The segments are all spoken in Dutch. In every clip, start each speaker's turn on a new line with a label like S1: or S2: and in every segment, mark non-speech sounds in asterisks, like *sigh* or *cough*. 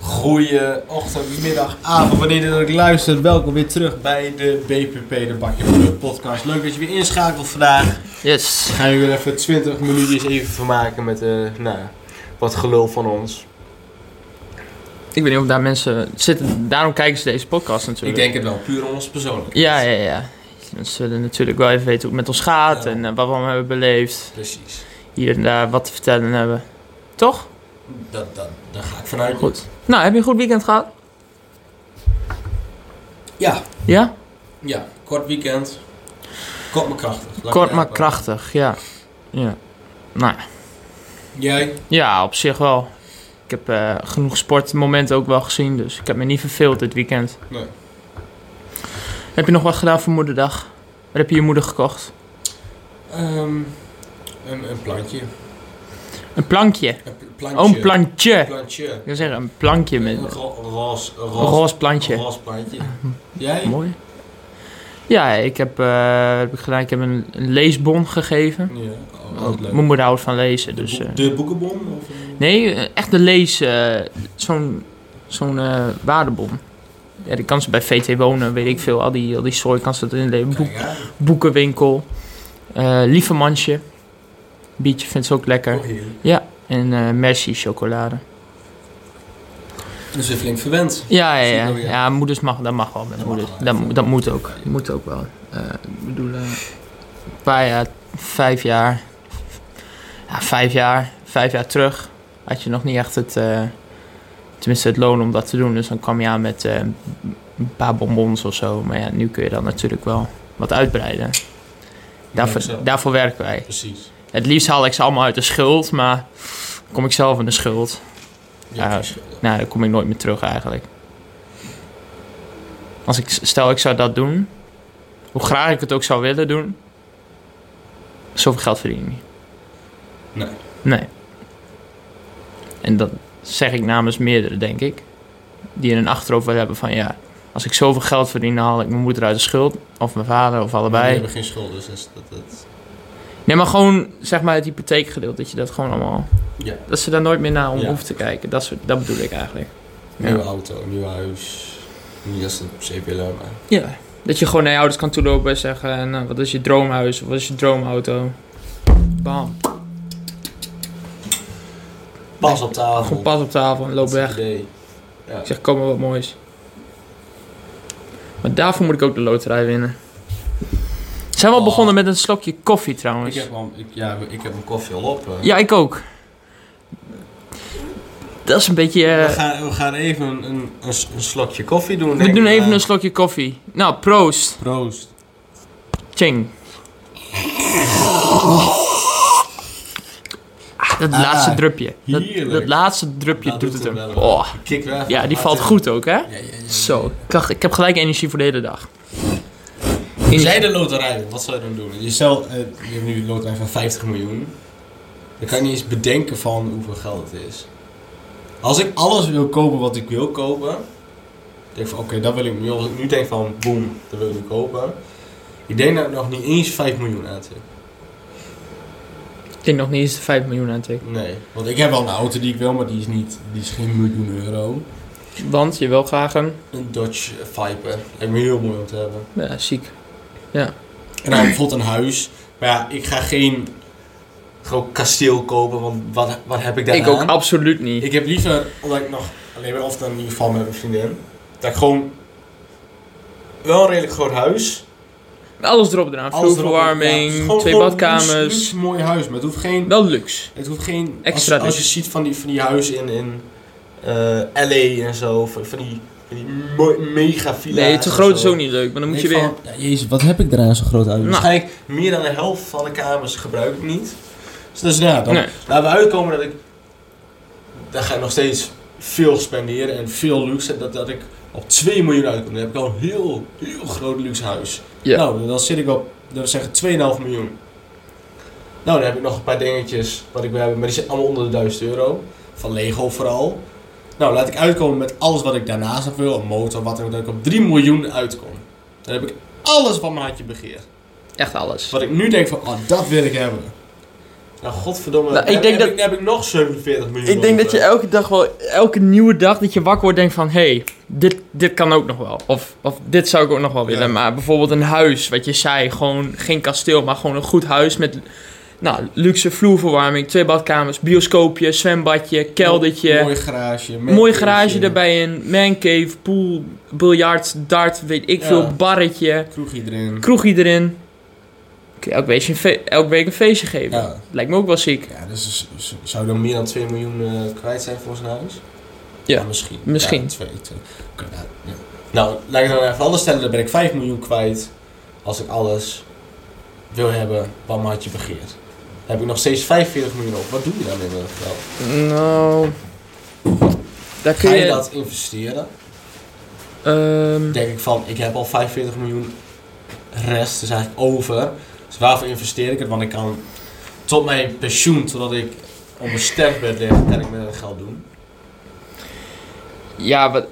S1: Goeie ochtend, middag, avond, wanneer je dit ook luistert. Welkom weer terug bij de BPP, de Bakje voor de podcast. Leuk dat je weer inschakelt vandaag.
S2: Yes.
S1: Gaan jullie even 20 minuutjes even vermaken met eh, nou, wat gelul van ons.
S2: Ik weet niet of daar mensen zitten. Daarom kijken ze deze podcast
S1: Ik
S2: natuurlijk.
S1: denk het wel, puur ons persoonlijk.
S2: Ja, ja, ja. Ze zullen natuurlijk wel even weten hoe het met ons gaat
S1: Ja.
S2: en eh, wat we allemaal hebben beleefd.
S1: Precies.
S2: Hier en daar wat te vertellen hebben. Toch?
S1: Dat, dat, daar ga ik vanuit.
S2: Goed. Nou, heb je een goed weekend gehad?
S1: Ja,
S2: Ja?
S1: ja, kort weekend. Kort maar krachtig. Laat ik
S2: Kort
S1: het
S2: maar
S1: uitpakken.
S2: krachtig, ja. Ja. Nou ja.
S1: Jij?
S2: ja, op zich wel. Ik heb eh, genoeg sportmomenten ook wel gezien, dus ik heb me niet verveeld dit weekend.
S1: Nee.
S2: Heb je nog wat gedaan voor moederdag? Wat heb je je moeder gekocht?
S1: Ehm, een, een plantje.
S2: Een plankje.
S1: Een pl- plantje.
S2: Oh, een plantje.
S1: plantje.
S2: Ik wil zeggen, een plankje met
S1: Een ro- roze,
S2: een
S1: roze,
S2: roze plantje.
S1: roze plantje. Jij?
S2: Mooi. Ja, ik heb, eh, wat heb ik gedaan? Ik heb een, een leesbon gegeven.
S1: Ja, oh, ook leuk.
S2: Mijn moeder houdt van lezen,
S1: De,
S2: dus...
S1: boek-
S2: eh,
S1: de boekenbon? Of, eh?
S2: nee, eh, echt de lees... eh, zo'n zo'n eh, waardebon. Ja, die kan ze bij VT Wonen, weet ik veel. Al die, al die zooi kan ze erin leven. Boek-
S1: Kijk aan.
S2: boekenwinkel. eh lieve mansje. Biertje vindt ze ook lekker.
S1: Oh, heerlijk.
S2: En eh merci chocolade.
S1: Dus weer flink verwend.
S2: Ja, ja, ja.
S1: Zie je wel, ja.
S2: ja moeders mag, dat mag wel met
S1: Dat mag
S2: moeders.
S1: wel.
S2: Dat, mo- dat moet ook. Moet ook wel. Eh, ik bedoel, eh, een paar jaar, vijf jaar. Ja, vijf jaar. Vijf jaar terug had je nog niet echt het, eh, tenminste het loon om dat te doen. Dus dan kwam je aan met eh, een paar bonbons of zo. Maar ja, nu kun je dat natuurlijk wel wat uitbreiden. Daarvoor,
S1: Dank zo.
S2: daarvoor werken wij.
S1: Precies.
S2: Het liefst haal ik ze allemaal uit de schuld, maar kom ik zelf in de schuld.
S1: Ja,
S2: Ja.
S1: precies.
S2: Nou, daar kom ik nooit meer terug eigenlijk. Als ik, stel ik zou dat doen, hoe graag ik het ook zou willen doen, zoveel geld verdien ik niet.
S1: Nee.
S2: Nee. En dat zeg ik namens meerdere, denk ik. Die in hun achterhoofd willen hebben van ja, als ik zoveel geld verdien, dan haal ik mijn moeder uit de schuld. Of mijn vader, of
S1: Maar die
S2: allebei.
S1: hebben geen schuld, dus dat is dat... dat-
S2: Nee, maar gewoon zeg maar het hypotheekgedeelte, dat je dat gewoon allemaal.
S1: Ja.
S2: Dat ze daar nooit meer naar om
S1: Ja.
S2: hoeft te kijken. Dat, soort, dat bedoel ik eigenlijk. Ja.
S1: Nieuwe auto, nieuw huis. Niet dat ze het per se willen, maar...
S2: Ja. Dat je gewoon naar je ouders kan toelopen en zeggen: nou, wat is je droomhuis? Of wat is je droomauto? Bam.
S1: Pas op
S2: Gewoon
S1: tafel.
S2: pas op tafel en loop
S1: Dat is het
S2: weg.
S1: idee. Ja.
S2: Ik zeg: kom maar wat moois. Maar daarvoor moet ik ook de loterij winnen. Zijn we al
S1: Oh.
S2: begonnen met een slokje koffie
S1: Ik
S2: trouwens?
S1: heb, al, ik, ja, ik heb een koffie al op. eh.
S2: Ja, ik ook. Dat is een beetje. eh,
S1: We, gaan, we gaan even een, een, een, s- een slokje koffie doen.
S2: we
S1: denk
S2: doen
S1: ik,
S2: even
S1: maar-
S2: een slokje koffie. Nou, proost.
S1: Proost.
S2: Ching. Ah, dat
S1: Ah,
S2: laatste drupje. Dat,
S1: heerlijk. Nou,
S2: dat laatste drupje
S1: Dat
S2: doet
S1: doet
S2: het
S1: hem
S2: hem.
S1: wel.
S2: Oh,
S1: Kik weg.
S2: ja, die
S1: Laat
S2: valt
S1: hem-
S2: goed ook, hè?
S1: Ja, ja, ja, ja.
S2: Zo, ik, dacht, ik heb gelijk energie voor de hele dag.
S1: Als
S2: Energie-
S1: jij de loterij wint, wat zou je dan doen? Je, zou, eh, je hebt nu een loterij van 50 miljoen. Dan kan je niet eens bedenken van hoeveel geld het is. Als ik alles wil kopen wat ik wil kopen, dan denk ik van oké, dat wil ik nu. Als ik nu denk van boem, dat wil ik nu kopen. Ik denk dat ik nog niet eens 5 miljoen aantik.
S2: Ik denk nog niet eens de 5 miljoen aan tikken.
S1: Nee, want ik heb wel een auto die ik wil, maar die is, niet, die is geen miljoen euro.
S2: Want je wil graag een...
S1: Een Dodge Viper. Lijkt me heel mooi om te hebben.
S2: Ja, ziek.
S1: En dan bijvoorbeeld een huis. Maar ja, ik ga geen groot kasteel kopen, want wat, wat heb ik daar
S2: Ik ook absoluut niet.
S1: Ik heb liever, omdat ik nog alleen ben, of dan in ieder geval met mijn vriendin, dat ik gewoon wel een redelijk groot huis.
S2: Alles erop eraan.
S1: Alles erop-
S2: Vloerverwarming,
S1: ja, gewoon-
S2: twee
S1: gewoon Een luxe-
S2: badkamers.
S1: luxe mooi huis, maar het hoeft geen.
S2: Wel luxe.
S1: Het hoeft geen
S2: Extra dus.
S1: als, als je
S2: luxe.
S1: ziet van die, van die huizen in, in eh, LA en zo, van, van die, van die mooi- mega villa's.
S2: Nee, te
S1: en
S2: groot
S1: zo.
S2: is ook niet leuk. Maar dan moet je
S1: Ik
S2: weer...
S1: van, ja, jezus, wat heb ik eraan zo'n groot huis?
S2: Nou.
S1: Waarschijnlijk meer dan de helft van de kamers gebruik ik niet. Dus dat is ja, dan
S2: Nee.
S1: laten we uitkomen dat ik... Daar ga ik nog steeds veel spenderen en veel luxe. en Dat, dat ik op 2 miljoen uitkom. Dan heb ik al een heel, heel groot luxe huis.
S2: Ja.
S1: Nou, dan zit ik op, dat we zeggen, 2,5 miljoen. Nou, dan heb ik nog een paar dingetjes wat ik wil hebben. Maar die zitten allemaal onder de 1000 euro. Van Lego vooral. Nou, laat ik uitkomen met alles wat ik daarnaast nog wil. Een motor, wat dan ook. Dat ik op 3 miljoen uitkom. Dan heb ik alles wat mijn hartje begeert.
S2: Echt alles.
S1: Wat ik nu denk van, oh, dat wil ik hebben. Nou, godverdomme.
S2: Nou, ik
S1: heb,
S2: denk
S1: heb
S2: dat-
S1: ik, heb ik nog 47 miljoen
S2: Ik denk dat je
S1: over.
S2: elke dag wel, elke nieuwe dag dat je wakker wordt, denkt van hé, hey, dit, dit kan ook nog wel. Of, of dit zou ik ook nog wel willen.
S1: Ja.
S2: Maar bijvoorbeeld een huis, wat je zei, gewoon geen kasteel, maar gewoon een goed huis met nou, luxe vloerverwarming, twee badkamers, bioscoopje, zwembadje, keldertje.
S1: Mooi garage.
S2: Mooi
S1: mancave.
S2: garage erbij in, mancave, pool, biljart, dart, weet ik
S1: Ja.
S2: veel, barretje,
S1: Kroegje erin.
S2: kroegje erin. Kun je elke week een, fe- elke week een feestje geven.
S1: Ja.
S2: Lijkt me ook wel ziek.
S1: Ja, dus z- z- zou dan meer dan 2 miljoen eh, kwijt zijn voor zijn huis?
S2: Ja,
S1: misschien.
S2: misschien.
S1: Ja, twee, twee. Oké, nou, ja. Nou, laat ik het dan even anders stellen. Dan ben ik 5 miljoen kwijt als ik alles wil hebben wat mijn hartje begeert. Dan heb ik nog steeds 45 miljoen op. Wat doe je dan met dat geld?
S2: Nou, daar kun
S1: Ga
S2: je...
S1: je dat investeren?
S2: ehm,
S1: Dan denk ik van, ik heb al 45 miljoen rest, dus eigenlijk over. Dus waarvoor investeer ik het? Want ik kan tot mijn pensioen, totdat ik op mijn sterfbed lig, kan ik met dat geld doen.
S2: ja, wat...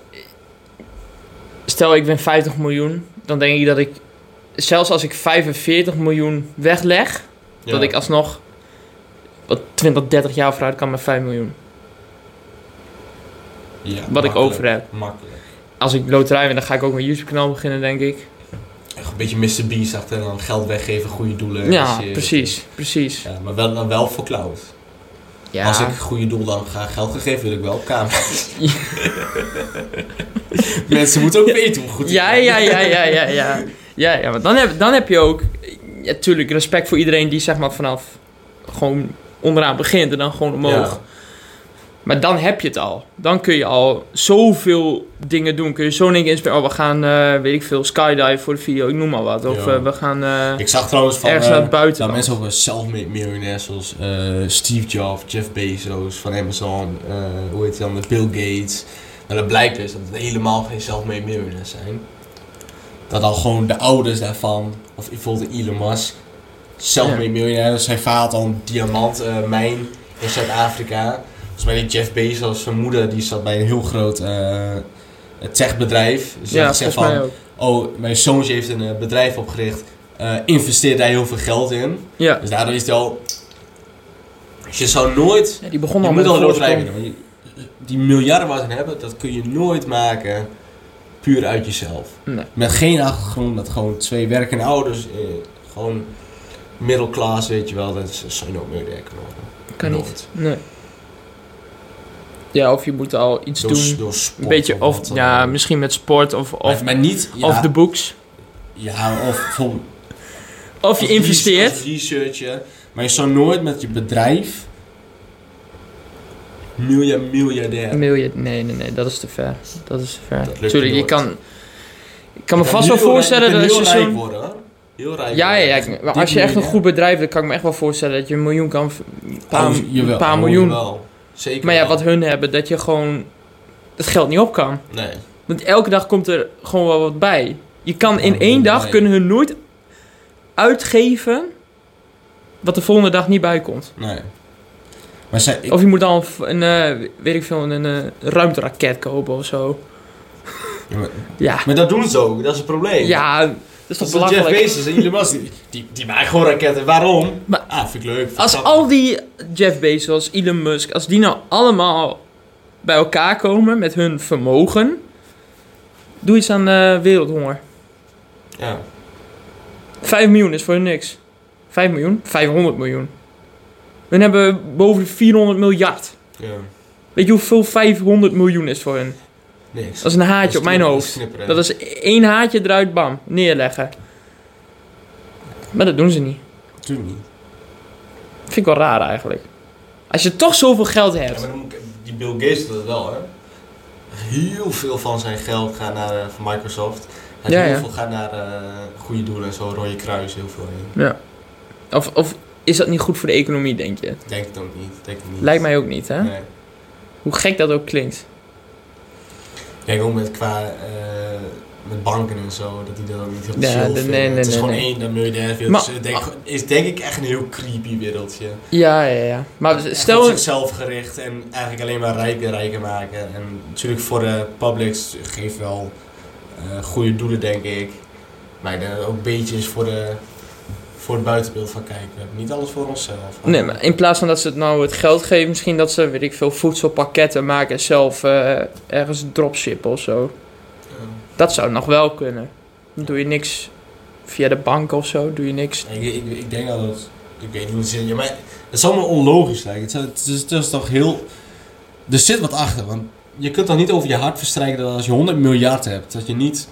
S2: Stel, ik ben 50 miljoen. Dan denk ik dat ik... Zelfs als ik 45 miljoen wegleg...
S1: Ja.
S2: Dat ik alsnog... Wat 20, 30 jaar vooruit kan met 5 miljoen.
S1: Ja,
S2: Wat ik
S1: makkelijk,
S2: over heb.
S1: Makkelijk.
S2: Als ik loterij win, dan ga ik ook mijn YouTube-kanaal beginnen, denk ik.
S1: Echt Een beetje Mr. Beast achter en dan geld weggeven, goede doelen.
S2: ja,
S1: shit.
S2: precies. Precies.
S1: Ja, maar wel, dan wel voor cloud.
S2: Ja.
S1: Als ik goede doel dan ga geld gegeven, wil ik wel op
S2: *laughs*
S1: camera's. Mensen moeten ook weten hoe goed ik
S2: Ja,
S1: ben.
S2: ja, ja, ja, ja, ja. Ja, ja, want dan heb, dan heb je ook... Ja, tuurlijk, respect voor iedereen die zeg maar vanaf... Gewoon onderaan begint en dan gewoon omhoog.
S1: Ja.
S2: Maar dan heb je het al. Dan kun je al zoveel dingen doen. Kun je zo in één keer inspireren. Oh, we gaan, eh, weet ik veel, skydive voor de video. Ik noem maar wat. Of
S1: Ja.
S2: eh, we gaan eh,
S1: Ik zag trouwens van...
S2: ergens
S1: eh,
S2: naar het
S1: Nou,
S2: buitenland.
S1: mensen over self-made miljonairs zoals eh, Steve Jobs, Jeff Bezos van Amazon, eh, hoe heet hij dan, de Bill Gates. Maar dat blijkt dus dat het helemaal geen self-made miljonairs zijn. Dat al gewoon de ouders daarvan, of bijvoorbeeld Elon Musk, self-made
S2: Ja.
S1: miljonairs. Zijn vader had al een diamantmijn in Zuid-Afrika. Volgens mij die Jeff Bezos, zijn moeder, die zat bij een heel groot eh, techbedrijf. Dus
S2: ja,
S1: die zegt
S2: volgens
S1: van,
S2: mij ook.
S1: oh, mijn zoontje heeft een eh, bedrijf opgericht, eh investeert daar heel veel geld in.
S2: Ja.
S1: Dus daardoor is het al. Dus je zou nooit.
S2: Ja, die
S1: Je
S2: begon al
S1: moet
S2: met
S1: al
S2: een
S1: loterij
S2: voorsprong.
S1: winnen. want je- Die miljarden wat ze hebben, dat kun je nooit maken. Puur uit jezelf.
S2: Nee.
S1: Met geen achtergrond, met gewoon twee werkende ouders. Eh, gewoon middelklas, weet je wel. Dat is- zou je nooit miljardair kunnen worden.
S2: Kan niet.
S1: Nooit.
S2: Nee. Ja, of je moet al iets
S1: Door,
S2: doen.
S1: door sport.
S2: Een beetje,
S1: of wat
S2: of
S1: dan
S2: ja,
S1: ook.
S2: misschien met sport of,
S1: Maar-
S2: of,
S1: maar niet. Ja,
S2: of de books.
S1: ja, of bijvoorbeeld
S2: *laughs* Of je
S1: Als
S2: investeert.
S1: res- als researcher. Maar je zou nooit met je bedrijf. miljard- miljardair.
S2: Een miljard. Nee, nee, nee, dat is te ver. Dat is te ver.
S1: Dat lukt
S2: Tuurlijk, je
S1: nooit.
S2: kan. Ik kan me
S1: Ja,
S2: vast wel
S1: heel rijk-
S2: voorstellen
S1: je
S2: dat
S1: kunt
S2: als je
S1: heel rijk
S2: zo'n.
S1: worden, hoor. Heel rijk.
S2: Ja, ja, ja,
S1: worden.
S2: ik- maar als je echt een goed bedrijf hebt, kan ik me echt wel voorstellen dat je een miljoen kan. v- Een paar,
S1: Oh, jawel,
S2: een paar
S1: oh,
S2: miljoen.
S1: jawel. Zeker.
S2: Maar ja,
S1: wel.
S2: wat hun hebben, dat je gewoon het geld niet op kan.
S1: Nee.
S2: Want elke dag komt er gewoon wel wat bij. Je kan in
S1: Oh,
S2: één
S1: nee.
S2: dag kunnen hun nooit uitgeven wat de volgende dag niet bij komt.
S1: Nee. Maar zij, ik,
S2: Of je moet dan een, v- een eh, weet ik veel, een eh, ruimteraket kopen of zo.
S1: Ja, maar,
S2: Ja,
S1: maar dat doen ze ook, dat is het probleem.
S2: ja dat
S1: Dat
S2: is toch
S1: is wat Jeff
S2: belachelijk.
S1: Bezos en Elon Musk, die, die, die maken gewoon raketten. Waarom?
S2: Maar-
S1: ah, vind ik leuk. vind
S2: Als
S1: ik
S2: al die Jeff Bezos, Elon Musk, als die nou allemaal bij elkaar komen met hun vermogen, doe iets aan eh, wereldhonger.
S1: grappig. Ja.
S2: 5 miljoen is voor hun niks. 5 miljoen? 500 miljoen. Hun hebben boven de 400 miljard.
S1: ja.
S2: Weet je hoeveel 500 miljoen is voor hun?
S1: Niks.
S2: Dat is een
S1: Dat is
S2: haartje op mijn
S1: knip-
S2: hoofd.
S1: knipperen.
S2: Dat is één haartje eruit, bam, neerleggen. Maar dat doen ze niet.
S1: Natuurlijk niet.
S2: Vind ik wel raar eigenlijk. Als je toch zoveel geld
S1: Ja, maar
S2: hebt.
S1: dan moet ik- die Bill Gates doet dat wel, hè? Heel veel van zijn geld gaat naar eh, van Microsoft. En
S2: Ja,
S1: heel
S2: ja.
S1: veel gaat naar eh, goede doelen en zo, Rode Kruis, heel veel heen.
S2: Of, of is dat niet goed voor de economie, denk je?
S1: Denk het ook niet. Denk het niet.
S2: Lijkt mij ook niet, hè?
S1: Nee.
S2: Hoe gek dat ook klinkt.
S1: Ik Denk ook met qua eh, met banken en zo, dat die dat ook niet heel
S2: Ja,
S1: chill
S2: de- nee,
S1: vinden.
S2: nee,
S1: het is
S2: nee,
S1: gewoon
S2: nee.
S1: één, dan miljardair veel.
S2: Maar-
S1: Dus, eh, denk, is denk ik echt een heel creepy wereldje.
S2: Ja, ja, ja. Maar
S1: Echt op
S2: stel...
S1: zichzelf gericht en eigenlijk alleen maar rijken rijker maken. En natuurlijk voor de publics geeft wel eh, goede doelen, denk ik. Maar ik denk dat het ook een beetje is voor de, voor het buitenbeeld van kijken. We hebben niet alles voor onszelf.
S2: Nee, maar in plaats van dat ze het nou het geld geven, misschien dat ze, weet ik veel, voedselpakketten maken en zelf eh, ergens dropshippen of zo.
S1: Ja.
S2: Dat zou nog wel kunnen. Dan doe je niks via de bank of zo, doe je niks.
S1: Ik, ik, ik denk dat het... Ik weet niet hoe het zit. Ja, maar het zal me onlogisch lijken. Het, zou- het is, het is toch heel... Er zit wat achter. Want je kunt dan niet over je hart verstrijken dat als je 100 miljard hebt, dat je niet...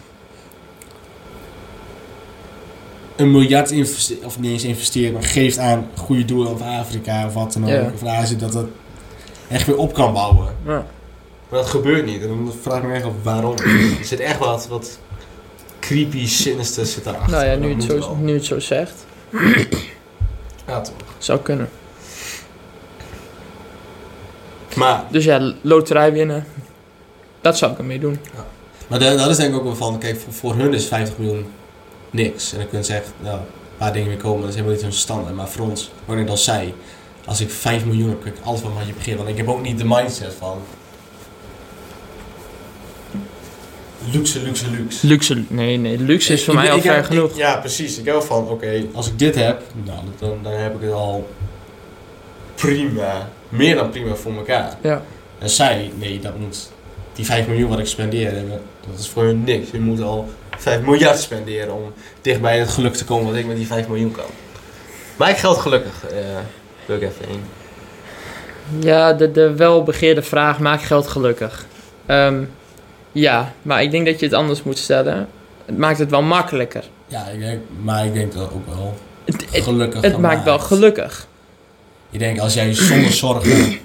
S1: Een miljard investeert, of niet eens investeert, maar geeft aan goede doelen op Afrika of wat dan ook.
S2: Ja.
S1: Of naar Azië, dat dat echt weer op kan bouwen.
S2: Ja.
S1: Maar dat gebeurt niet. En dan vraag ik me echt af waarom. er zit echt wat, wat creepy, sinister zit daarachter.
S2: Nou ja,
S1: Dat
S2: nu het,
S1: moet
S2: zo,
S1: wel.
S2: nu het zo zegt,
S1: Ja, toch.
S2: zou kunnen.
S1: Maar,
S2: Dus ja, loterij winnen, dat zou ik ermee doen.
S1: maar da- dat is denk ik ook wel van, kijk, voor, voor hun is 50 miljoen niks. En dan kun je zeggen, nou, een paar dingen weer komen, dat is helemaal niet hun standaard. Maar voor ons, ook net als zij, als ik 5 miljoen heb, kun ik alles van je beginnen. Want ik heb ook niet de mindset van... Luxe, luxe, luxe.
S2: Luxe, nee, nee, luxe is voor
S1: Ik-
S2: mij
S1: ik-
S2: al
S1: ik
S2: ver
S1: heb-
S2: genoeg.
S1: ik- ja, precies. Ik hou van, oké, als ik dit heb, nou, dan, dan heb ik het al prima, meer dan prima voor elkaar.
S2: Ja.
S1: En zij, nee, dat moet, die 5 miljoen wat ik spendeer, eh, dat is voor hun niks. Je moet al 5 miljard spenderen om dichtbij het geluk te komen wat ik met die 5 miljoen kan. Maar ik geld gelukkig, eh wil ik even in.
S2: Ja, de, de welbegeerde vraag maakt geld gelukkig. Ehm, ja, maar ik denk dat je het anders moet stellen. Het maakt het wel makkelijker.
S1: Ja, ik denk, maar ik denk dat ook wel
S2: Het, het,
S1: gelukkig
S2: het maakt wel gelukkig.
S1: Ik denk als jij zonder zorgen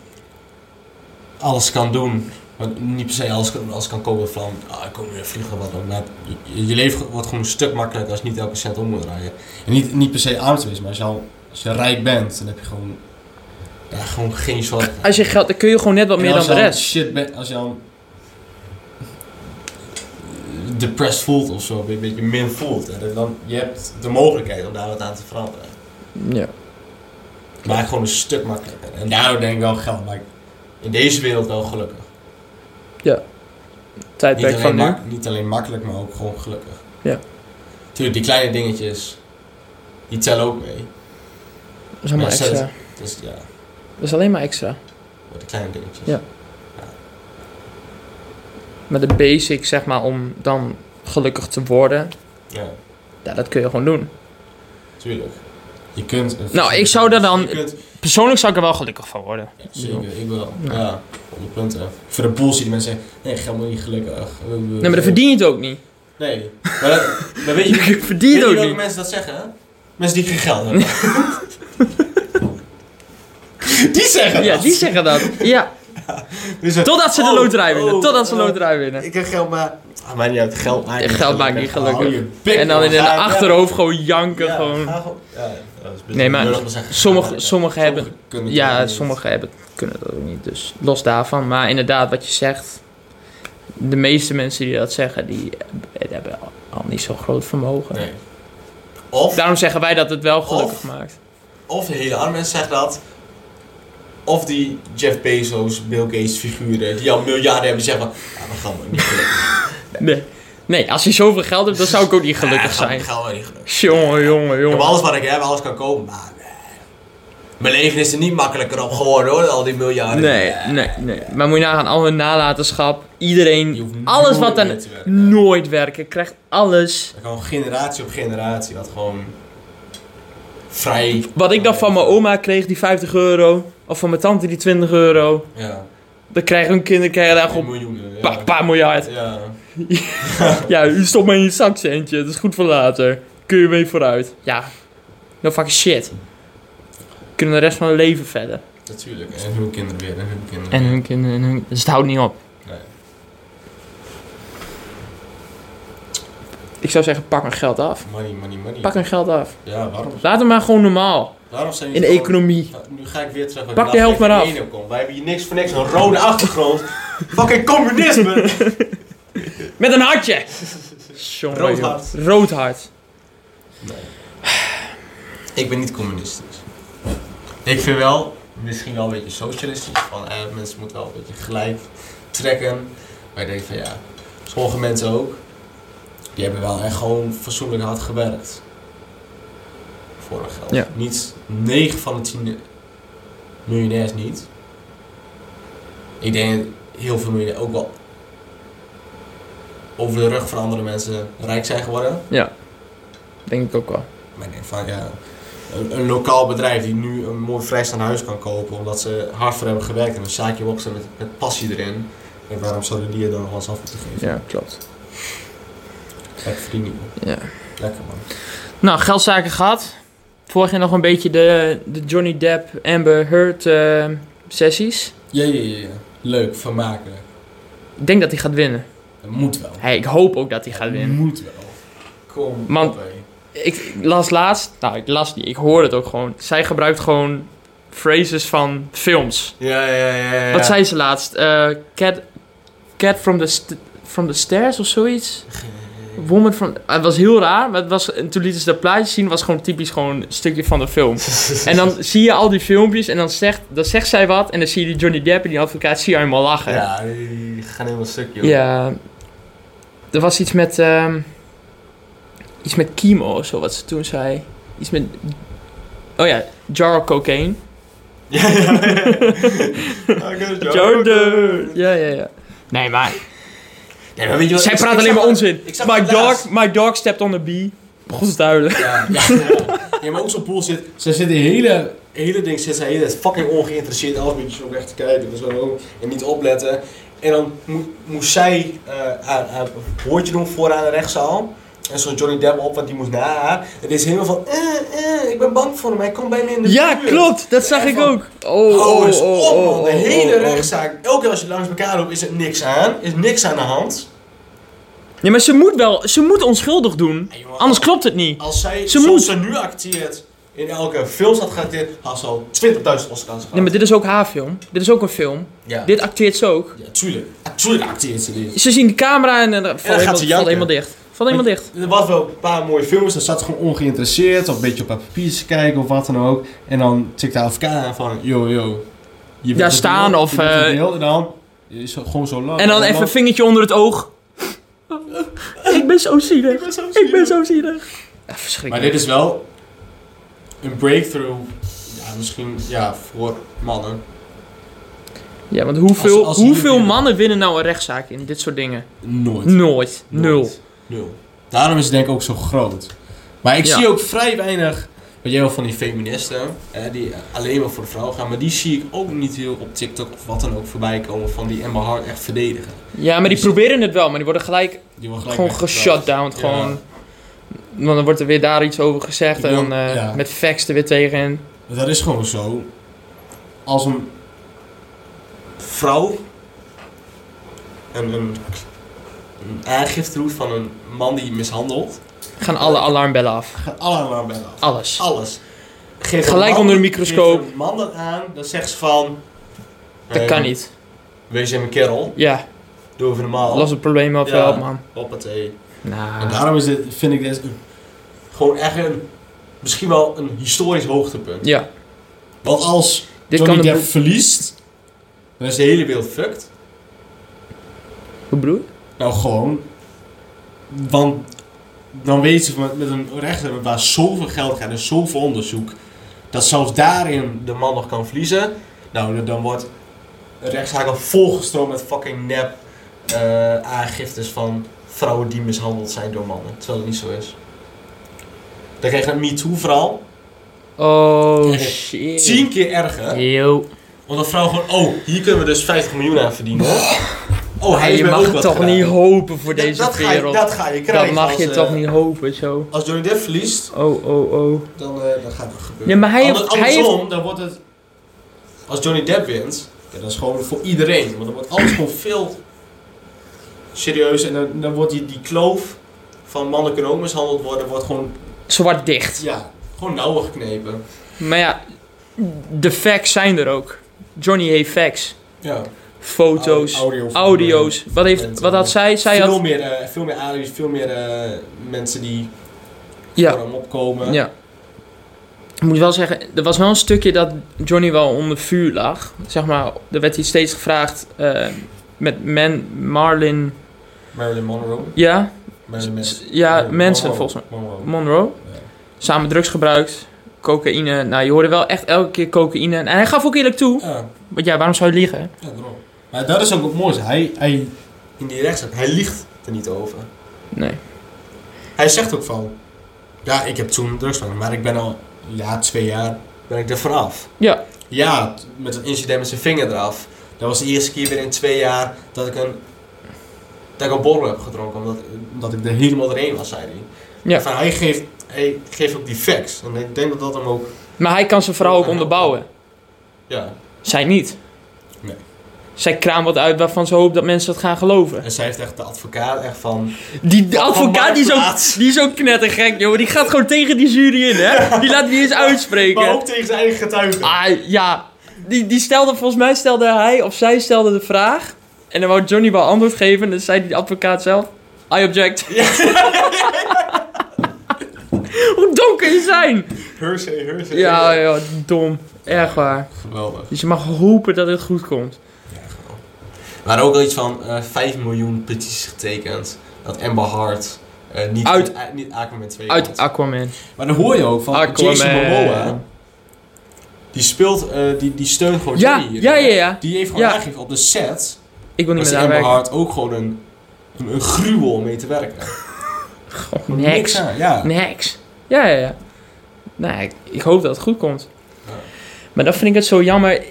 S1: alles kan doen. Want niet per se alles, kan- alles kan komen van, ah, ik kom weer vliegen wat ook. Maar je, je leven wordt gewoon een stuk makkelijker als je niet elke cent om moet draaien. En niet, niet per se arm te wezen, maar als je, al, als je rijk bent, dan heb je gewoon, ja, gewoon geen zorgen.
S2: Als je geld, dan kun je gewoon net wat
S1: En
S2: meer dan
S1: als
S2: de
S1: je al
S2: rest.
S1: Shit bent, als je al depressed voelt of zo, een beetje min voelt. En dan, je hebt de mogelijkheid om daar wat aan te veranderen.
S2: Ja.
S1: Maar gewoon een stuk makkelijker. En daardoor denk ik wel geld maakt in deze wereld wel gelukkig. Niet
S2: Tijdperk
S1: alleen,
S2: van nu.
S1: mak- niet alleen makkelijk, maar ook gewoon gelukkig.
S2: Ja.
S1: Tuurlijk, die kleine dingetjes, die tellen ook mee.
S2: Dat is allemaal
S1: Maar zet-
S2: extra.
S1: Dus ja,
S2: Dat is alleen maar extra.
S1: de kleine dingetjes.
S2: Ja. Maar de basic, zeg maar, om dan gelukkig te worden,
S1: Ja,
S2: ja, dat kun je gewoon doen.
S1: tuurlijk. Je kunt... een-
S2: Nou, ik zou daar dan-
S1: Je kunt-
S2: Persoonlijk zou ik er wel gelukkig van worden.
S1: ja, zeker, ik wel.
S2: Ja.
S1: Ja, 100 punten. Voor de bullshit die mensen zeggen, nee, geld moet niet gelukkig.
S2: Nee, maar dan verdien je het ook niet.
S1: Nee, maar, dat- maar *laughs* weet je,
S2: Ik
S1: weet
S2: verdien
S1: je
S2: het ook
S1: welke
S2: niet.
S1: mensen dat zeggen? hè? Mensen die geen geld hebben. *laughs* die zeggen
S2: Ja,
S1: dat.
S2: die zeggen dat. Ja,
S1: Die zeggen,
S2: totdat ze de
S1: oh,
S2: loterij winnen.
S1: oh,
S2: Totdat ze de
S1: oh.
S2: loterij winnen.
S1: Ik heb geld, maar... Ah, maar niet uit. Geld maakt
S2: Ja,
S1: niet
S2: geld maakt niet
S1: Hou
S2: gelukkig.
S1: je bek,
S2: En dan
S1: man.
S2: in hun
S1: Ga-
S2: achterhoofd gewoon
S1: ja,
S2: janken.
S1: ja,
S2: gewoon.
S1: ga gewoon- ja, dat is best
S2: Nee, maar
S1: lullig om te zeggen.
S2: sommige-
S1: Ja,
S2: sommigen hebben-
S1: kunnen het ook
S2: Ja,
S1: niet.
S2: sommigen hebben, kunnen dat ook niet. Dus los daarvan. Maar inderdaad, wat je zegt. De meeste mensen die dat zeggen, die eh, hebben al, al niet zo'n groot vermogen.
S1: Nee. Of,
S2: Daarom zeggen wij dat het wel gelukkig
S1: Of-
S2: maakt.
S1: of de hele arme mensen zeggen dat. Of die Jeff Bezos, Bill Gates figuren die al miljarden hebben zeggen van... Ja, maar geld
S2: *laughs*
S1: maakt niet gelukkig.
S2: Nee. nee, als je zoveel geld hebt, dan zou ik ook niet
S1: Ja,
S2: gelukkig
S1: geld-
S2: zijn.
S1: Geld maakt niet gelukkig.
S2: Jongen, jongen,
S1: Ik heb
S2: jongen.
S1: alles wat ik heb, alles kan kopen, maar... nee. Mijn leven is er niet makkelijker op geworden hoor, al die miljarden. Eh,
S2: Nee, nee, nee. Maar moet je nagaan, al hun nalatenschap.
S1: Je hoeft
S2: Iedereen, Mm. alles wat
S1: nooit
S2: dan
S1: meer te werken.
S2: nooit werken, krijgt alles.
S1: Dat Gewoon generatie op generatie, wat gewoon vrij.
S2: Wat ik dan van mijn oma kreeg, die 50 euro. Of van mijn tante, die 20 euro.
S1: Ja,
S2: Dan krijgen hun kinderen krijgen daar gewoon
S1: miljoenen. Ja.
S2: een paar, paar miljard.
S1: Ja.
S2: Ja, u stopt maar in je zakcentje. Dat is goed voor later. Kun je mee vooruit. Ja. No fucking shit. Kunnen de rest van hun leven verder.
S1: natuurlijk. En hun kinderen weer, en hun kinderen.
S2: En
S1: weer.
S2: hun kinderen, en hun... Dus het houdt niet op.
S1: Nee.
S2: Ik zou zeggen, pak hun geld af.
S1: Money, money, money.
S2: Pak hun geld af.
S1: Ja, waarom?
S2: Laat het maar gewoon normaal.
S1: Waarom zijn
S2: In de
S1: jullie gewoon-
S2: economie.
S1: Nu ga ik weer terug.
S2: Pak de helft maar af.
S1: Kom. Wij hebben hier niks voor niks, een rode
S2: *laughs*
S1: achtergrond. Fucking communisme!
S2: Met een hartje. Jongen,
S1: Rood
S2: joh.
S1: hart.
S2: Rood hart.
S1: Nee. Ik ben niet communistisch. Ik vind wel, misschien wel een beetje socialistisch, van eh, mensen moeten wel een beetje gelijk trekken. Maar ik denk van ja, sommige mensen ook, die hebben wel echt gewoon fatsoenlijk hard gewerkt. voor hun geld.
S2: Ja.
S1: Niet 9 van de 10 miljonairs niet. Ik denk dat heel veel miljonairs ook wel over de rug van andere mensen rijk zijn geworden.
S2: Denk ik ook wel.
S1: Maar ik denk van ja, een, een lokaal bedrijf die nu een mooi vrijstaand huis kan kopen omdat ze hard voor hebben gewerkt en een zaakje opstaan met, met passie erin. En waarom zouden die er dan nog eens af moeten geven?
S2: Ja, klopt.
S1: Lekker verdienen. man.
S2: Ja.
S1: Lekker man.
S2: Nou, geldzaken gehad. Vorig jaar nog een beetje de, de Johnny Depp Amber Heard eh, sessies.
S1: Ja, ja, ja, ja. Leuk, vermakelijk.
S2: Ik denk dat hij gaat winnen.
S1: Het moet wel.
S2: Hey, ik hoop ook dat hij gaat
S1: Het
S2: winnen.
S1: moet wel. Kom
S2: Man-
S1: op, hé.
S2: Ik las laatst, nou ik las niet, ik hoorde het ook gewoon. Zij gebruikt gewoon phrases van films.
S1: Ja, ja, ja, ja.
S2: Wat zei ze laatst? Eh, cat, cat from the, st- from the stairs of zoiets? Woman from... Ah, het was heel raar, maar het was, en toen lieten ze dat plaatje zien. was gewoon typisch gewoon een stukje van de
S1: *laughs*
S2: film. en dan zie je al die filmpjes en dan zegt, dan zegt zij wat. En dan zie je die Johnny Depp en die advocaat, zie je helemaal lachen.
S1: Ja, die gaan helemaal stuk, joh.
S2: Ja. Er was iets met... ehm, iets met chemo of zo, wat ze toen zei. Iets met... Oh ja, jar of cocaine.
S1: *laughs* Ja, ja, ja. I got a
S2: Jordan! Ja, ja, ja. Nee, maar...
S1: Nee, maar weet je wat?
S2: Zij
S1: ik-
S2: praat
S1: ik
S2: alleen
S1: zag
S2: maar
S1: dat-
S2: onzin.
S1: ik zag
S2: My
S1: dat laatst.
S2: dog, my dog stepped on a bee. Begon ze te huilen.
S1: Ja, ja, ja. ja, maar ook zo'n pool zit. Ze zit de hele, hele ding, zit ze heel fucking ongeïnteresseerd, alles een beetje zo weg te kijken Dus en zo, en niet opletten. En dan mo- moest zij eh, haar, haar woordje doen vooraan de rechtszaal. En zo'n Johnny Depp op, want die moest na haar. En dit is helemaal van, eh, eh, ik ben bang voor hem, hij komt bij me in de
S2: Ja,
S1: buurt.
S2: klopt. Dat zag
S1: Ja,
S2: ik
S1: van-
S2: ook. Oh,
S1: Oh,
S2: oh,
S1: is
S2: oh,
S1: op man,
S2: oh,
S1: de
S2: oh,
S1: hele
S2: oh, oh.
S1: rechtszaak. Elke keer als je langs elkaar loopt is er niks aan, is niks aan de hand.
S2: Ja, maar ze moet wel... Ze moet onschuldig doen.
S1: Ja, jongen,
S2: Anders klopt het niet.
S1: Als zij
S2: Ze
S1: zoals
S2: moet.
S1: ze nu acteert in elke film had geacteerd, had ze al 20.000 Oscars gehad.
S2: Nee, maar dit is ook haar film. Dit is ook een film.
S1: ja.
S2: Dit acteert ze ook.
S1: ja, tuurlijk. Ja, tuurlijk acteert ze dit.
S2: Ze zien de camera en eh, dan valt,
S1: gaat
S2: helemaal,
S1: ze
S2: valt
S1: janken.
S2: helemaal dicht. Valt helemaal dicht.
S1: Er was wel een paar mooie films, dan zat ze gewoon ongeïnteresseerd of een beetje op haar papiertjes te kijken of wat dan ook. En dan tikt haar AFK aan van, yo, yo. Je bent
S2: staan
S1: deel,
S2: of,
S1: je bent
S2: eh,
S1: het deel. En dan is het gewoon zo lang.
S2: En dan even een vingertje onder het oog. *laughs* ik ben zo zielig. Ik ben zo zielig. Ja,
S1: Maar
S2: verschrikkelijk.
S1: dit is wel een breakthrough. Ja, misschien ja, voor mannen.
S2: Ja, want hoeveel,
S1: Als- als jullie
S2: hoeveel
S1: winnen.
S2: mannen winnen nou een rechtszaak in dit soort dingen?
S1: Nooit.
S2: Nooit. Nul.
S1: Nooit. Nul. Daarom is het denk ik ook zo groot. Maar ik
S2: Ja.
S1: zie ook vrij weinig. Wat jij wel van die feministen, hè, die eh, alleen maar voor de vrouw gaan, maar die zie ik ook niet heel op TikTok of wat dan ook voorbij komen van die Amber Hart echt verdedigen.
S2: Ja, maar die
S1: Dus-
S2: proberen het wel, maar die worden gelijk
S1: Die wordt gelijk
S2: gewoon
S1: weggepraat.
S2: geshutdowned.
S1: Ja.
S2: Gewoon. Want dan wordt er weer daar iets over gezegd
S1: Ik
S2: en
S1: wil-
S2: dan eh,
S1: ja.
S2: met facts er weer tegen.
S1: Dat is gewoon zo. Als een vrouw een, een, een aangifte doet van een man die mishandelt,
S2: Gaan alle alarmbellen af.
S1: gaat alle alarmbellen af.
S2: Alles.
S1: Alles. Geef een
S2: Gelijk
S1: man-
S2: onder de microscoop.
S1: Geef een man dat aan, dan zegt ze van...
S2: Dat
S1: eh,
S2: kan niet.
S1: Wees je mijn kerel,
S2: Ja,
S1: doe even normaal.
S2: los het probleem op,
S1: Ja.
S2: eh, man.
S1: Hoppatee. En
S2: Nou.
S1: daarom is dit, vind ik dit een- gewoon echt een... Misschien wel een historisch hoogtepunt.
S2: Ja,
S1: Want als
S2: dit
S1: Johnny
S2: kan
S1: Depp
S2: de.
S1: verliest, dan is de hele wereld fucked.
S2: Hoe bedoel je?
S1: Nou, gewoon... Want dan weten ze met, met een rechter waar zoveel geld gaat en zoveel onderzoek... dat zelfs daarin de man nog kan verliezen. Nou, dan- dan wordt een rechtszaak al volgestroomd met fucking nep eh, aangiftes van vrouwen die mishandeld zijn door mannen. Terwijl het niet zo is. Dan krijg je een MeToo-verhaal.
S2: Oh
S1: Echt.
S2: shit.
S1: Tien keer erger.
S2: Yo.
S1: Want dan vrouw gewoon, oh, hier kunnen we dus 50 miljoen aan verdienen.
S2: *laughs*
S1: Oh, hij
S2: je
S1: heeft mij
S2: mag
S1: ook
S2: het
S1: wat
S2: toch
S1: gedaan.
S2: niet hopen voor
S1: Dat-
S2: deze
S1: dat ga je-
S2: wereld.
S1: dat ga je
S2: dat,
S1: krijgen.
S2: mag
S1: als,
S2: je
S1: eh,
S2: toch niet hopen zo.
S1: Als Johnny Depp verliest,
S2: Oh, oh, oh.
S1: dan, eh, dan gaat het gebeuren.
S2: Ja, maar hij
S1: Ander-
S2: heeft- hij
S1: andersom, dan wordt het... Als Johnny Depp wint, ja, dat is gewoon voor iedereen. Want dan wordt alles gewoon veel serieus. En dan, dan wordt die, die kloof van mannen kunnen ook mishandeld worden, wordt gewoon,
S2: Zwart dicht.
S1: ja, gewoon nauwer geknepen.
S2: Maar ja, de facts zijn er ook. Johnny heeft facts.
S1: Ja.
S2: Foto's,
S1: Audio-
S2: audio's. Wat, heeft,
S1: Mensen.
S2: wat had zij? Zij
S1: veel,
S2: had...
S1: meer, eh, veel meer aliens, veel meer eh, mensen die voor
S2: Ja,
S1: hem opkomen.
S2: ja. Ik moet wel zeggen, er was wel een stukje dat Johnny wel onder vuur lag. Zeg maar, er werd hij steeds gevraagd eh, met Man, Marlin...
S1: Marilyn Monroe.
S2: Ja,
S1: Marilyn Manson.
S2: ja,
S1: Marilyn
S2: mensen
S1: Monroe.
S2: volgens
S1: Monroe.
S2: Monroe.
S1: Ja.
S2: Samen drugs gebruikt. cocaïne. Nou, je hoorde wel echt elke keer cocaïne. En hij gaf ook eerlijk toe.
S1: Ja,
S2: Want ja, waarom zou je liegen?
S1: ja, daarom. Maar dat is ook het mooiste. Hij, hij, in die rechtszaak, hij liegt er niet over.
S2: Nee.
S1: Hij zegt ook van, ja, ik heb toen drugs gedaan, maar ik ben al, ja, twee jaar ben ik er vanaf.
S2: Ja.
S1: Ja, t- met dat incident met zijn vinger eraf. Dat was de eerste keer weer in twee jaar dat ik een, dat ik een borrel heb gedronken, omdat, omdat ik er helemaal doorheen was, zei hij.
S2: Ja.
S1: Van, hij, geeft, hij geeft ook die facts. En ik denk dat dat hem ook,
S2: Maar hij kan zijn verhaal ook onderbouwen.
S1: ja.
S2: Zij niet.
S1: Nee.
S2: Zij kraamt wat uit waarvan ze hoopt dat mensen dat gaan geloven.
S1: En zij heeft echt de advocaat echt van...
S2: Die de
S1: Van
S2: advocaat die is,
S1: Marktplaats.
S2: ook, die is ook knettergek, joh. Die gaat gewoon tegen die jury in, hè. Die laat die eens
S1: Maar
S2: uitspreken.
S1: ook tegen zijn eigen getuigen.
S2: eh, Ah, ja. Die, die stelde, volgens mij stelde hij of zij stelde de vraag. En dan wou Johnny wel antwoord geven. En dan zei die advocaat zelf... I
S1: *laughs*
S2: object. *laughs* Hoe dom kun je zijn?
S1: Hersey, Hersey.
S2: Ja, ja, dom. Erg waar.
S1: Geweldig.
S2: Dus je mag hopen dat het goed komt.
S1: Maar ook al iets van eh 5 miljoen petities getekend. Dat Amber Hart eh, niet,
S2: Uit-
S1: eh, niet Aquaman 2
S2: Uit
S1: komt.
S2: Aquaman.
S1: Maar dan hoor je ook van
S2: Aquaman.
S1: Oh, Jason Momoa. Die speelt, eh, die, die steunt gewoon
S2: Ja,
S1: Johnny.
S2: ja, ja, ja.
S1: Die heeft gewoon
S2: Ja.
S1: aangegeven op de set.
S2: Ik wil niet
S1: Dat
S2: meer
S1: ze Amber
S2: daar werken.
S1: Hart ook gewoon een, een, een gruwel om mee te werken.
S2: Goh,
S1: Niks.
S2: niks.
S1: aan, ja.
S2: Niks. Ja, ja, ja. Nou, ik, ik hoop dat het goed komt.
S1: Ja.
S2: Maar dan vind ik het zo jammer.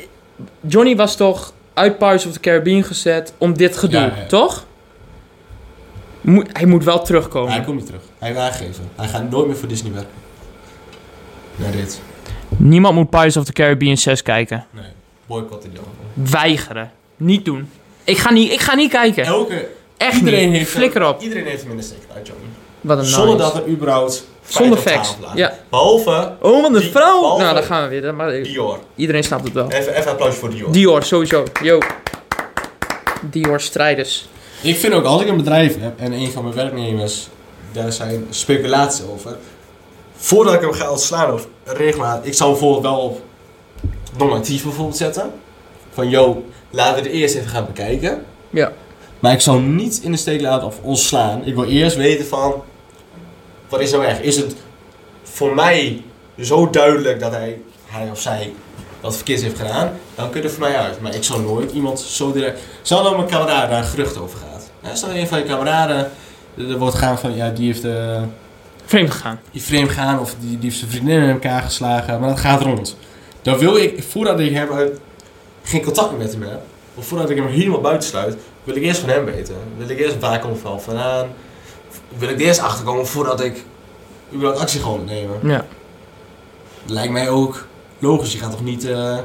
S2: Johnny was toch uit Pirates of the Caribbean gezet om dit gedoe,
S1: Ja, ja.
S2: toch? Moet, hij moet wel
S1: Maar
S2: terugkomen.
S1: hij komt niet terug. Hij wil aangeven. Hij gaat nooit meer voor Disney werken. Naar dit.
S2: Niemand moet Pirates of the Caribbean 6 kijken.
S1: Nee. Boycotten die allemaal.
S2: Weigeren. Niet doen. Ik ga niet, ik ga niet kijken.
S1: Elke
S2: Echt
S1: Iedereen
S2: niet.
S1: heeft
S2: Flikker op.
S1: Iedereen heeft hem in de steek uit, Johnny.
S2: Wat een
S1: Zonder
S2: nice.
S1: dat er überhaupt
S2: Zonder
S1: feiten op
S2: facts.
S1: tafel lagen.
S2: Ja.
S1: Behalve
S2: Oh, want de
S1: Die-
S2: vrouw.
S1: behalve-
S2: Nou, daar gaan we weer. Dat- Maar
S1: Dior.
S2: iedereen snapt het wel.
S1: Even, even applaus voor Dior.
S2: Dior, sowieso. Yo. Dior strijders.
S1: Ik vind ook, als ik een bedrijf heb en een van mijn werknemers, daar zijn speculaties over. Voordat ik hem ga ontslaan of regelmatig, ik zou bijvoorbeeld wel op normatief bijvoorbeeld zetten. Van, yo, laten we het eerst even gaan bekijken.
S2: Ja.
S1: Maar ik zou hem niet in de steek laten of ontslaan. Ik wil eerst weten van, wat is nou echt? Is het voor mij zo duidelijk dat hij, hij of zij dat verkeerd heeft gedaan? Dan kun je er voor mij uit. Maar ik zou nooit iemand zo direct... Stel dat mijn kameraden daar een gerucht over gaat. Hè, Stel dat een van je kameraden eh, er wordt gaan van, ja, die heeft eh
S2: Vreemd gegaan.
S1: die vreemd gaan of die, die heeft zijn vriendin in elkaar geslagen. Maar dat gaat rond. Dan wil ik, voordat ik hem uit, geen contact meer met hem heb, of voordat ik hem helemaal buiten sluit, wil ik eerst van hem weten. Wil ik eerst waar komt van vandaan. Wil ik er eerst achterkomen voordat ik überhaupt actie ga ondernemen.
S2: Ja.
S1: Lijkt mij ook logisch. Je gaat toch niet eh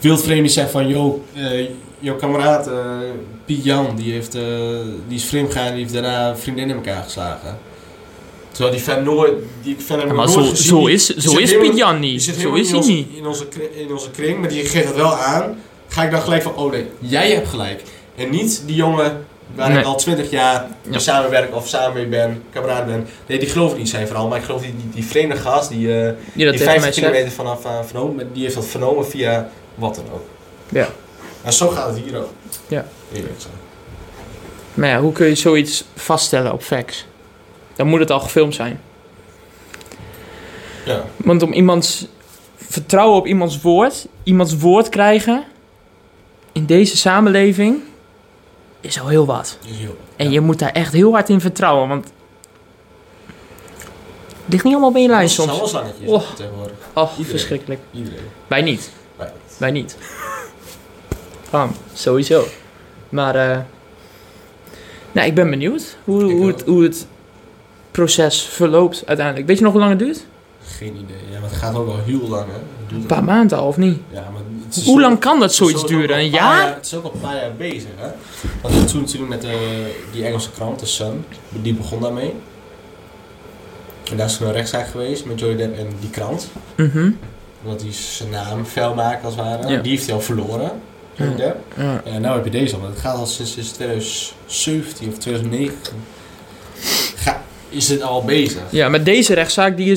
S1: wildvreemd zeggen van... ...joh, eh, jouw kameraad eh Piet Jan, die, heeft, eh, die is vreemd gegaan... ...die heeft daarna een vriendin in elkaar geslagen. Terwijl die fan nooit... Die fan heb ik
S2: Ja, maar
S1: nooit
S2: zo,
S1: gezien.
S2: zo is,
S1: Die
S2: zo
S1: zit
S2: is
S1: helemaal-
S2: Piet Jan
S1: die
S2: niet.
S1: zit
S2: Zo
S1: helemaal
S2: is hij
S1: in
S2: niet.
S1: Onze, in, onze kring, in onze kring, maar die geeft het wel aan. Ga ik dan gelijk van, oh nee, jij hebt gelijk. En niet die jongen waar
S2: Nee.
S1: ik al twintig jaar
S2: Ja.
S1: mee samenwerk of samen mee ben, kameraad ben. Nee, die geloof ik niet zijn verhaal. Maar ik geloof die, die, die vreemde gast, die, eh,
S2: Die dat
S1: die
S2: tegen mij
S1: 50
S2: zegt.
S1: kilometer vanaf eh, vernomen, die heeft dat vernomen via wat dan ook.
S2: Ja.
S1: En zo gaat het hier ook.
S2: Ja.
S1: Eerlijk zo.
S2: Maar ja, hoe kun je zoiets vaststellen op fax? Dan moet het al gefilmd zijn.
S1: Ja.
S2: Want om iemands vertrouwen op iemands woord, iemands woord krijgen in deze samenleving is al heel wat.
S1: Is heel.
S2: En je moet daar echt heel hard in vertrouwen, want het ligt niet allemaal bij je lijn soms.
S1: Alles langetjes
S2: Oh.
S1: tegenwoordig.
S2: Och,
S1: Iedereen.
S2: verschrikkelijk.
S1: Iedereen.
S2: Wij niet.
S1: Wij
S2: Wij niet. Bam, sowieso. Maar eh nou, ik ben benieuwd hoe,
S1: Ik
S2: hoe,
S1: ook.
S2: het, hoe het proces verloopt uiteindelijk. Weet je nog hoe lang het duurt?
S1: Geen idee. Ja, maar het gaat ook al heel lang, hè. Het duurt
S2: Een
S1: ook-
S2: paar maanden al, of niet?
S1: Ja, maar het is
S2: Hoe
S1: zo-
S2: lang kan dat
S1: het is
S2: zoiets
S1: ook al
S2: duren?
S1: een
S2: Een
S1: paar
S2: jaar?
S1: Het is ook al een paar jaar bezig, hè. Want toen natuurlijk met eh, die Engelse krant, de Sun, die begon daarmee. En daar is toen een rechtszaak geweest met Johnny Depp en die krant.
S2: Mhm.
S1: Omdat hij zijn naam vuil maakte, als het ware.
S2: Ja.
S1: Die heeft hij al verloren, Johnny
S2: Ja.
S1: Depp.
S2: Ja.
S1: Ja, nou heb je deze al, want het gaat al sinds, sinds 2017 of 2019. Ga, is het al bezig?
S2: ja, maar deze rechtszaak die